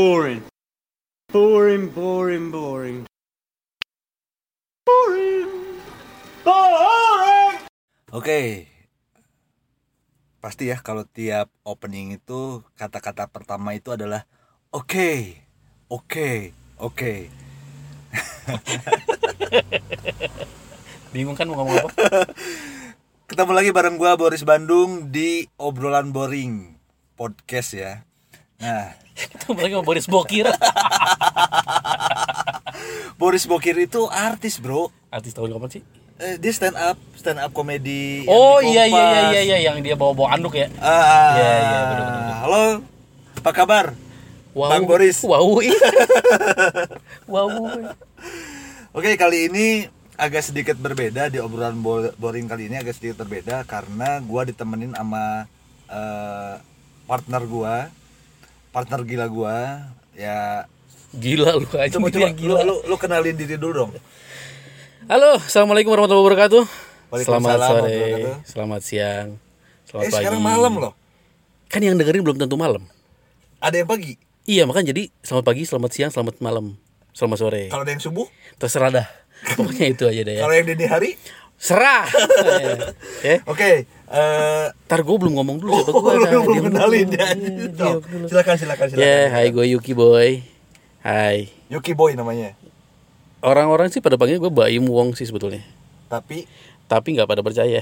Boring. Boring, boring, boring. Boring. Boring. Oke. Pasti ya kalau tiap opening itu kata-kata pertama itu adalah oke. oke. oke. Bingung kan mau ngomong apa? Ketemu lagi bareng gua Boris Bandung di obrolan boring podcast ya. Nah, Ketemu lagi sama Boris Bokir Boris Bokir itu artis, Bro. Artis tahun kapan sih? Eh, dia stand up, stand up komedi. yang Oh di iya iya iya Kompas. iya iya yang dia bawa-bawa anduk ya. Ah, Iya, iya, bener-bener. Halo. Apa kabar? Wow. Bang Boris. Wow. ih. wow. Oke, kali ini agak sedikit berbeda di obrolan bo- boring kali ini agak sedikit berbeda karena gua ditemenin sama eh, partner gua, partner gila gua. Ya, Gila lu aja. coba dia coba gila. lu, lu, lu kenalin diri dulu dong. Halo, assalamualaikum warahmatullahi wabarakatuh. Waalaikumsalam Selamat sore, warahmatullahi wabarakatuh. selamat siang, selamat eh, pagi. sekarang malam loh. Kan yang dengerin belum tentu malam. Ada yang pagi. Iya, makanya jadi selamat pagi, selamat siang, selamat malam, selamat sore. Kalau ada yang subuh, Terserah dah. Pokoknya itu aja deh ya. kalau yang dini hari. Serah. ya. Oke, eh Ntar gue belum ngomong dulu siapa Oh, lu gue kan. belum kenalin ya. Diam Dong, dulu. Silakan silakan silakan. iya, Ya, hai gue Yuki Boy. Hai. Yuki Boy namanya. Orang-orang sih pada panggil gue Baim Wong sih sebetulnya. Tapi Tapi nggak pada percaya.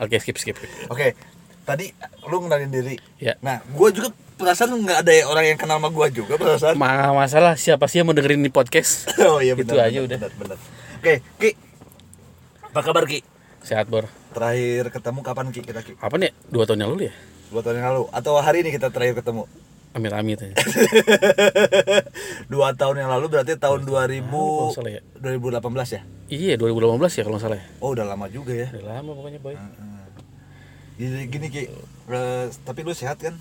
Oke, skip skip. skip. Oke, tadi lu kenalin diri. Ya. Nah, gua juga perasaan nggak ada orang yang kenal sama gua juga perasaan. Ma masalah siapa sih yang mau dengerin ini podcast? Oh iya Itu benar. aja benar, udah. Benar, benar. Oke, Ki. Apa kabar Ki? Sehat Bor. Terakhir ketemu kapan Ki kita Ki? Apa nih? Dua tahun yang lalu ya? Dua tahun yang lalu atau hari ini kita terakhir ketemu? Amit-amit ya. aja. Dua tahun yang lalu berarti tahun 2000 kalau nggak salah ya. 2018 ya? iya, 2018 ya kalau nggak salah ya. Oh udah lama juga ya. Udah lama pokoknya Boy. Gini, gini Ki, Eh, tapi lu sehat kan?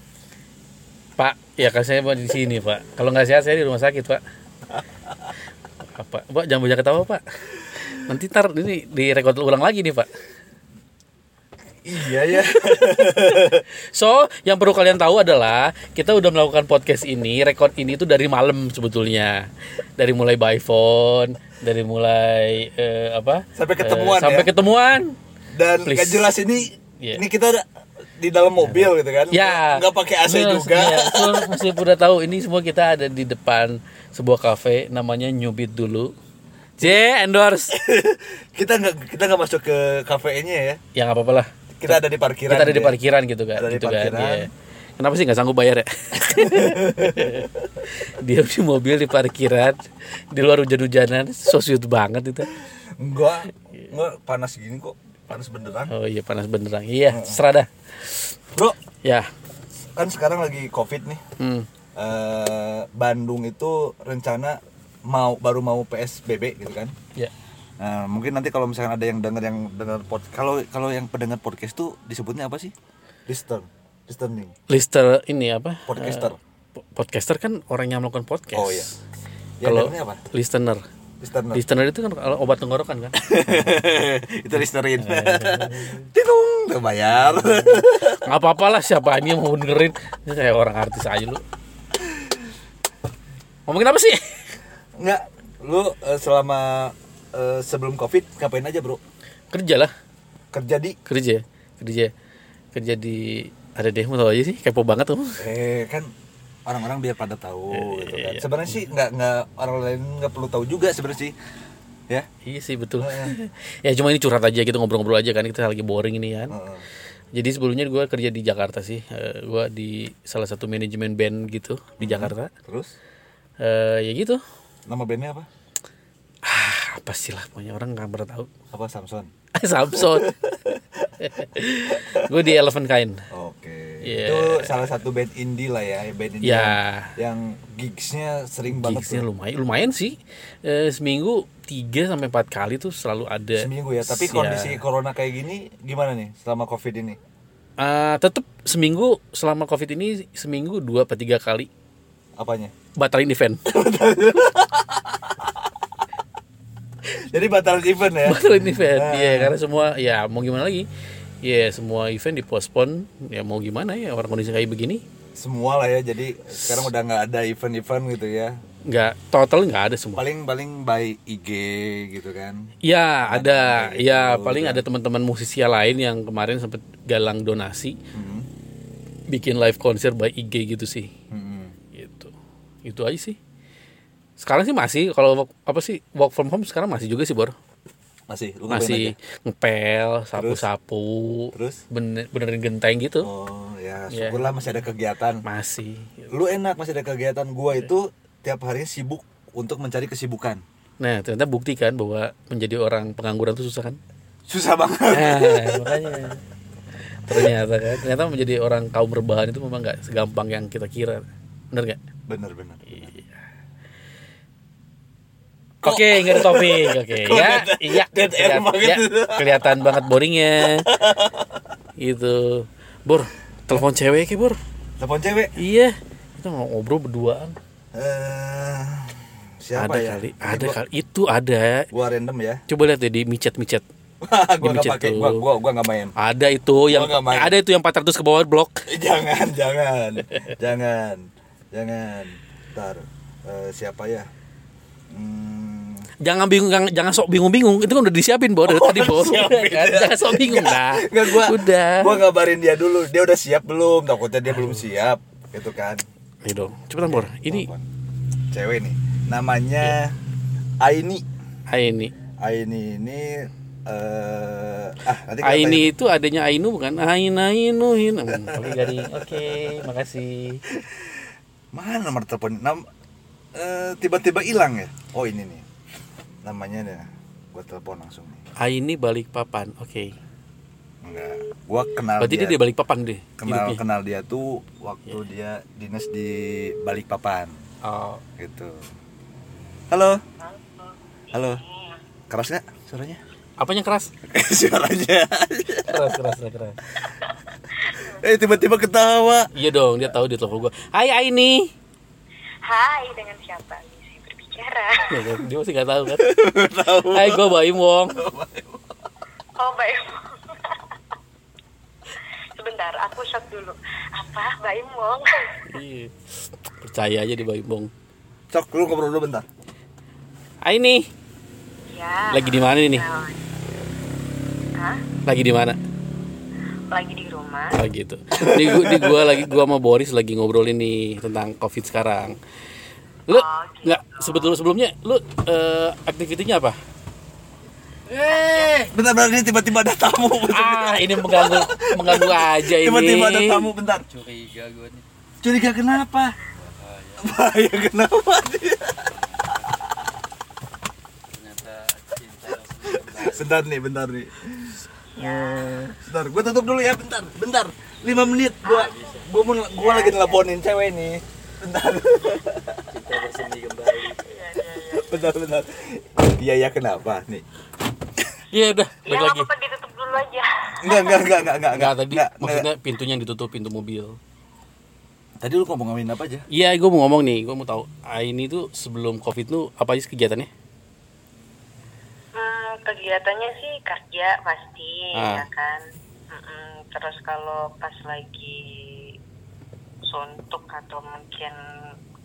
Pak, ya kan saya mau di sini Pak. Kalau nggak sehat saya di rumah sakit Pak. Apa? Pak jangan banyak ketawa Pak. Nanti tar ini direkod ulang lagi nih Pak. Iya ya. ya. So, yang perlu kalian tahu adalah kita udah melakukan podcast ini, rekod ini tuh dari malam sebetulnya. Dari mulai by phone, dari mulai eh, apa? Sampai ketemuan Eh, sampai ya? ketemuan. Dan Please. gak jelas ini Iya. ini kita ada di dalam mobil gitu kan? Ya. Nggak pakai AC Bener, juga. iya. So, mesti udah tahu ini semua kita ada di depan sebuah kafe namanya Nyubit dulu. J endorse. kita nggak kita nggak masuk ke kafenya ya ya nggak apa-apa lah. kita ada di parkiran Kita ada gitu di ya. parkiran gitu kan. Ada di gitu kan, parkiran. iya. Kenapa sih nggak sanggup bayar ya? Dia di mobil di parkiran di luar hujan-hujanan, so sweet banget itu. enggak enggak panas gini kok panas beneran Oh iya panas beneran. Iya, serada. bro Ya. kan sekarang lagi covid nih Hmm. Eh, Bandung itu rencana mau baru mau psbb gitu kan Ya. Nah, mungkin nanti kalau misalkan ada yang denger yang denger pod kalau kalau yang pendengar podcast tuh disebutnya apa sih listen listening Lister ini apa? Eh, podcaster Po- Podcaster kan orang yang melakukan podcast. Oh, iya. Ya, Kalau dengernya apa? listener. listener Listener itu kan obat tenggorokan kan? itu listenin titung tuh bayar Nggak apa-apa lah siapa ini yang mau dengerin Ini kayak orang artis aja lu Ngomongin apa sih? Enggak, lu eh, selama eh, sebelum Covid ngapain aja, Bro? Kerja lah Kerja di Kerja Kerja Kerja di Ada deh mau tau aja sih Kepo banget tuh eh kan orang-orang biar pada Iya, tahu gitu kan. Sebenarnya sih nggak nggak orang lain nggak perlu tahu juga sebenarnya sih. Ya. Iya sih betul Ya cuma ini curhat aja gitu Ngobrol-ngobrol aja kan Kita lagi boring ini kan Heeh. Jadi sebelumnya gue kerja di Jakarta sih Eh, Gue di salah satu manajemen band gitu Di Jakarta Terus Eh, Ya gitu nama bandnya apa? ah, Apa sih lah Pokoknya orang nggak pernah tahu Apa Samson? Samson Gue di Elephant Kind Oke. Iya. Itu salah satu band indie lah ya, band indie. Ya. Yang, yang gigsnya sering banget Gigsnya tuh. lumayan, lumayan sih. Eh, seminggu 3 sampai 4 kali tuh selalu ada. Seminggu ya, tapi Ya. kondisi corona kayak gini gimana nih selama Covid ini? Ah, tetap seminggu selama Covid ini seminggu 2 atau 3 kali Apanya? batalin event. Jadi batal event ya. batalin event. Iya, karena semua ya mau gimana lagi? Ya, semua event dipospon. Ya mau gimana ya orang kondisi kayak begini. semua lah ya jadi sekarang udah nggak ada event-event gitu ya nggak total nggak ada semua paling paling by IG gitu kan Ya ada, ya paling ada teman-teman musisi lain yang kemarin sempet galang donasi, Hmm. bikin live konser by IG gitu sih, Mm-mm. gitu, itu aja sih. Sekarang sih masih kalau work- apa sih work from home sekarang masih juga sih bor, masih lu ngapain masih aja? ngepel, sapu-sapu, ya. Terus? bener benerin genteng gitu, oh ya syukurlah masih ada kegiatan masih. lu enak masih ada kegiatan gua itu tiap hari sibuk untuk mencari kesibukan Nah ternyata buktikan bahwa menjadi orang pengangguran itu susah kan? susah banget Nah, makanya ternyata kan ternyata menjadi orang kaum rebahan itu memang nggak segampang yang kita kira bener nggak bener bener bener. oke nggak ada topik oke ya iya dead air kelihatan, banget. ya, kelihatan banget boringnya gitu bor telepon cewek ya bor telepon cewek iya kita mau ngobrol berduaan Eh, siapa ada ya kali Ini ada gua, kali itu ada gua random ya coba lihat deh di micet micet gua nggak Micet pakai tuh. gua gua gua nggak main ada itu yang Oh, nggak main. ada itu yang 400 ke bawah blok Eh, jangan jangan jangan jangan ntar eh, siapa ya hmm, jangan bingung jangan, jangan sok bingung-bingung itu kan udah disiapin bor dari tadi bor Udah siapin. kan? jangan sok bingung lah Nggak, gua udah gua ngabarin dia dulu dia udah siap belum takutnya dia belum siap gitu kan ayo dong cepetan bor ini Telepon. cewek nih namanya Aini Aini Aini ini eh ah nanti kita Aini itu adanya Ainu bukan Ain Ainu Ain Hmm, oke garing oke makasih tanya. mana nomor telepon Nam- eh, tiba-tiba hilang ya oh ini nih namanya nih gua telepon langsung nih Aini balik papan oke Iya. enggak gua kenal berarti dia dia, dia balik papan deh kenal hidupnya Iya. kenal dia tuh waktu dia dinas di Balikpapan oh, gitu halo halo keras nggak suaranya apanya keras suaranya keras keras keras, keras. eh tiba-tiba ketawa iya dong dia tahu dia telepon gua Hai Aini Hai, dengan siapa Lizzy berbicara? Ya kan, dia masih gak tahu kan tahu Hai gua Baim Wong Oh, Mbak Im. Sebentar, aku shock dulu. Apa, Mbak Im Wong? Iya. percaya aja di Baim Wong Cok, lu ngobrol dulu bentar. Aini Ya. Lagi di mana ini? Nah, Hah? lagi di mana? Lagi di rumah? Oh gitu. Di gua, di gua lagi gua sama Boris lagi ngobrolin nih tentang Covid sekarang. Lu Oh, gitu. nggak sebetulnya sebelumnya lu eh, aktivitinya apa? Eh, Bentar, bentar ini tiba-tiba ada tamu. ah ini mengganggu mengganggu aja ini. Tiba-tiba ada tamu bentar. curiga gue nih Curiga kenapa? Bahaya kenapa dia? ternyata cinta Bentar nih, bentar nih. Bentar, gue tutup dulu ya, bentar. Bentar. 5 menit gua gua mau gua lagi teleponin cewek nih. Bentar. cinta bersemi kembali Bentar, bentar. Iya, ya kenapa nih? Iya udah, Ya, balik lagi. apa-apa ditutup dulu aja. Enggak, enggak, enggak, enggak, enggak. Enggak tadi enggak, maksudnya pintunya yang ditutup pintu mobil. enggak. tadi lu ngomong ngomongin apa aja? Iya, gue mau ngomong nih, gue mau tahu Aini tuh sebelum Covid tuh apa aja sih kegiatannya? Hmm, kegiatannya sih kerja pasti, Ah. ya kan? Mm-mm. Terus kalau pas lagi suntuk atau mungkin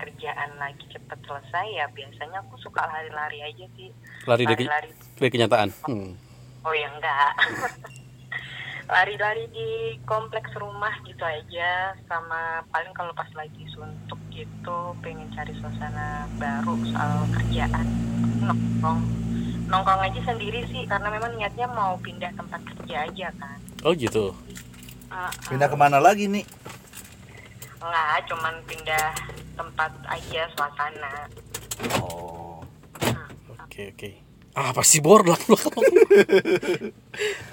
kerjaan lagi cepet selesai ya biasanya aku suka lari-lari aja sih. Lari dari, ke- Lari-lari. dari kenyataan. Hmm. Oh ya enggak. Lari-lari di kompleks rumah gitu aja sama paling kalau pas lagi suntuk gitu pengen cari suasana baru soal kerjaan nongkrong nongkrong aja sendiri sih karena memang niatnya mau pindah tempat kerja aja kan Oh gitu. Mm-mm. Pindah kemana lagi nih? nggak cuman pindah tempat aja suasana Oh. Oke, oke. Ah, apa sih bor belakang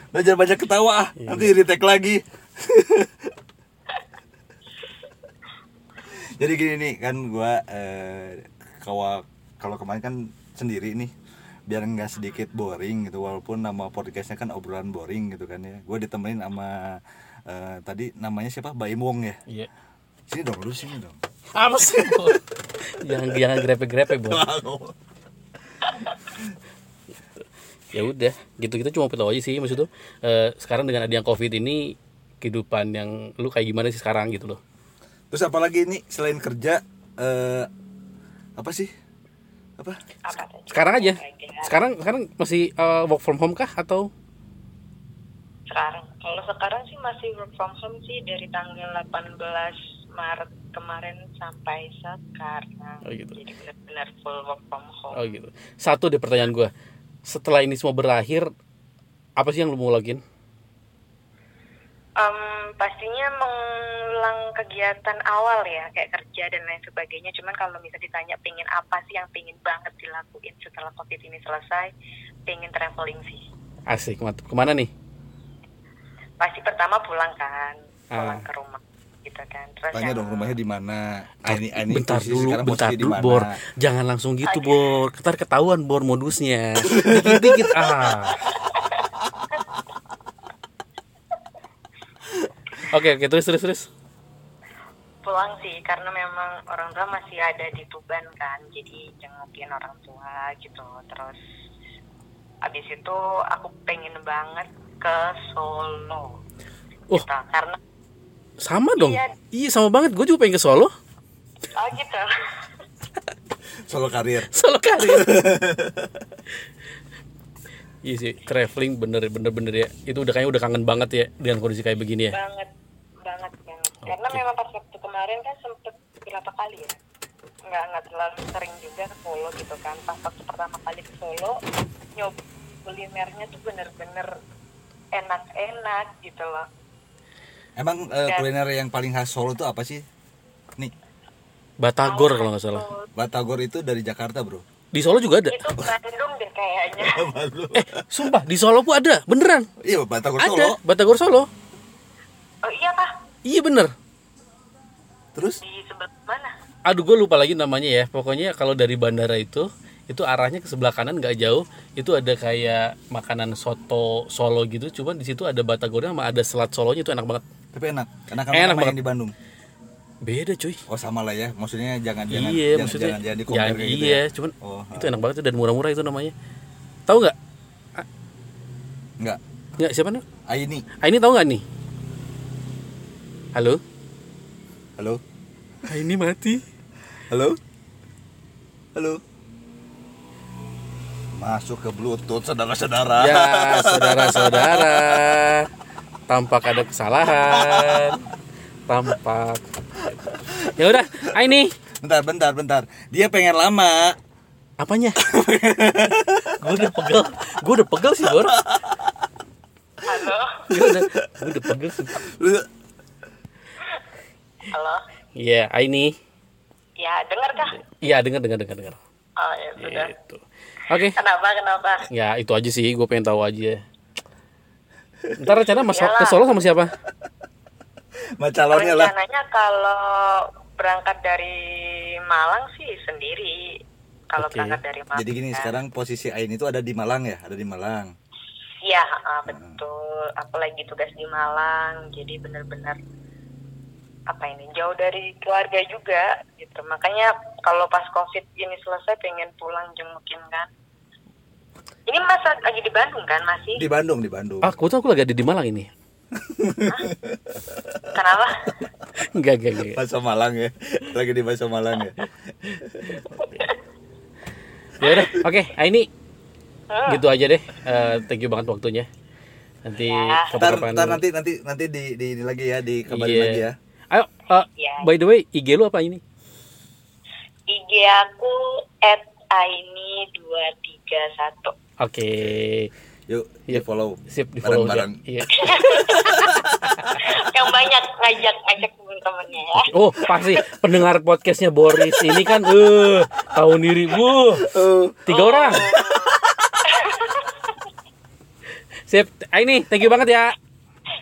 Lo jangan banyak ketawa ah, nanti retake lagi. Jadi gini nih kan gua eh, kawa- kalau kemarin kan sendiri nih biar nggak sedikit boring gitu walaupun nama podcastnya kan obrolan boring gitu kan ya gue ditemenin sama eh, tadi namanya siapa Baim Wong ya Iya. sini dong lu sini dong Apa sih? Bor? jangan jangan grepe-grepe, Bor. Ya udah, gitu kita cuma pengen tahu aja sih maksud Eh, tuh sekarang dengan adanya Covid ini kehidupan yang lu kayak gimana sih sekarang gitu loh. Terus apalagi ini selain kerja eh apa sih? Apa? apa tadi? Sekarang aja. Kerja. Sekarang sekarang masih eh, work from home kah atau sekarang kalau sekarang sih masih work from home sih dari tanggal 18 Maret kemarin sampai sekarang Oh, gitu. jadi benar-benar full work from home oh gitu. Satu deh pertanyaan gua. Setelah ini semua berakhir apa sih yang lu mau lakuin? Em, pastinya mengulang kegiatan awal ya kayak kerja dan lain sebagainya cuman kalau bisa ditanya pengen apa sih yang pengen banget dilakuin setelah covid ini selesai pengen traveling sih Asik, mantap. Kemana nih? pasti pertama pulang kan pulang Ah. ke rumah gitu kan terus Tanya yang- dong rumahnya di mana? Ah, ini- ah, ini bentar posisi dulu, sekarang bentar posisi di dulu, mana? Bor. Jangan langsung gitu, Bor. Ketar ketahuan Bor modusnya. Dikit-dikit ah. Oke, oke, terus terus terus. pulang sih karena memang orang tua masih ada di Tuban kan jadi jengukin orang tua gitu terus abis itu aku pengen banget ke Solo Oh. gitu karena Sama dong. Iya. Iya, sama banget. Gue juga pengen ke Solo. oh gitu Solo karir. Solo karir. iya sih, traveling bener bener bener ya. Itu udah kayaknya udah kangen banget ya dengan kondisi kayak begini ya. banget banget banget karena memang pas waktu kemarin kan sempet berapa kali ya nggak nggak terlalu sering juga ke Solo gitu kan pas waktu pertama kali ke Solo nyob kulinernya tuh bener-bener enak-enak gitu loh Emang eh, kuliner yang paling khas Solo itu apa sih? Nih, Batagor kalau nggak salah. Batagor itu dari Jakarta, Bro. Di Solo juga ada. itu Bandung deh kayaknya Eh, sumpah di Solo pun ada, beneran. Iya, Batagor Solo. Ada Batagor Solo. oh iya kah Iya bener. Terus di sebelah mana Aduh gue lupa lagi namanya ya. Pokoknya kalau dari bandara itu itu arahnya ke sebelah kanan nggak jauh itu ada kayak makanan soto Solo gitu cuman di situ ada batagornya sama ada selat Solonya itu enak banget tapi enak. Enak Enak kan banget. yang di Bandung. beda cuy Oh, sama lah ya. Maksudnya jangan jangan iya jangan, maksudnya jangan jangan di ya, compare kayak gitu iya ya. cuman Oh, itu enak banget tuh dan murah-murah itu namanya tahu nggak Enggak. nggak siapa nih Ah, ini. ah, ini tahu nggak nih halo Halo. ah, ini mati Halo? Halo? Masuk ke Bluetooth, saudara-saudara. ya saudara-saudara tampak ada kesalahan tampak ya udah ah, ini Bentar, bentar, bentar. Dia pengen lama. apanya gue udah pegel gue udah pegel sih bor halo gue udah gue udah pegel sih Lu halo iya ah, ini ya dengar kah iya dengar dengar dengar dengar oh ya sudah Eh. itu Gitu. oke kenapa kenapa Ya itu aja sih, gue pengen tahu aja. Ntar rencana mas Iyalah. ke Solo sama siapa? mah calonnya lah. rencananya kalau berangkat dari Malang sih sendiri kalau Oke. berangkat dari Malang Jadi gini, kan. sekarang posisi Ain itu ada di Malang ya? Ada di Malang. Iya, ah, betul. Aku lagi tugas di Malang, jadi benar-benar apa ini jauh dari keluarga juga gitu. Makanya kalau pas Covid ini selesai pengen pulang jengukin kan. Ini Mas lagi di Bandung kan masih? Di Bandung, di Bandung. Ah, kebetulan aku lagi ada di Malang ini. Kenapa? Enggak, enggak, enggak. Bahasa Malang ya. Lagi di bahasa Malang ya. Ya udah, oke. Ah, ini gitu aja deh. Eh, thank you banget waktunya. Nanti Ntar, kapan-kapan- ntar nanti nanti nanti di, di ini lagi ya, dikabarin Iya. lagi ya. Ayo, eh, Iya. by the way, IG lu apa ini? IG aku @aini231. Oke, Yuk, di Iya. follow. sip di follow Bareng-bareng. Iya. Yang banyak ngajak ngajak temen-temennya ya. Oh, pasti pendengar podcastnya Boris ini kan, eh, tahun diri, wuh, tiga orang. Sip, Ah, ini thank you banget ya.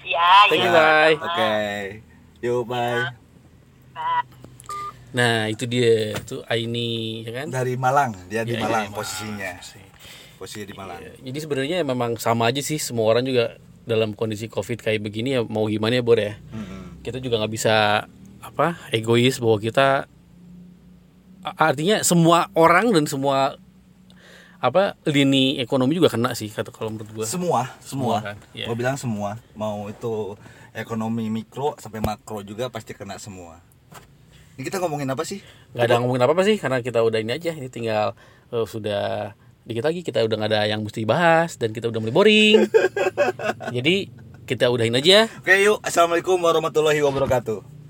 Ya, Thank ya. you, Iya, bye. Ah, Oke. Yuk, bye. Nah itu dia tuh Aini ya kan. Dari Malang, dia di Iya, Malang iya, posisinya. Posisi di Malang. Ya, Jadi sebenarnya memang sama aja sih semua orang juga dalam kondisi covid kayak begini ya mau gimana ya Bor ya. Mm-mm. Kita juga nggak bisa apa egois bahwa kita a- artinya semua orang dan semua apa lini ekonomi juga kena sih kata kalau menurut gua. semua semua, kan? Iya. Gua bilang semua mau itu ekonomi mikro sampai makro juga pasti kena semua Ini kita ngomongin apa sih? nggak ada ngomongin apa apa sih karena kita udah ini aja ini tinggal eh, sudah dikit lagi kita udah nggak ada yang mesti bahas dan kita udah mulai boring jadi kita udahin ya. aja Oke yuk, Assalamualaikum warahmatullahi wabarakatuh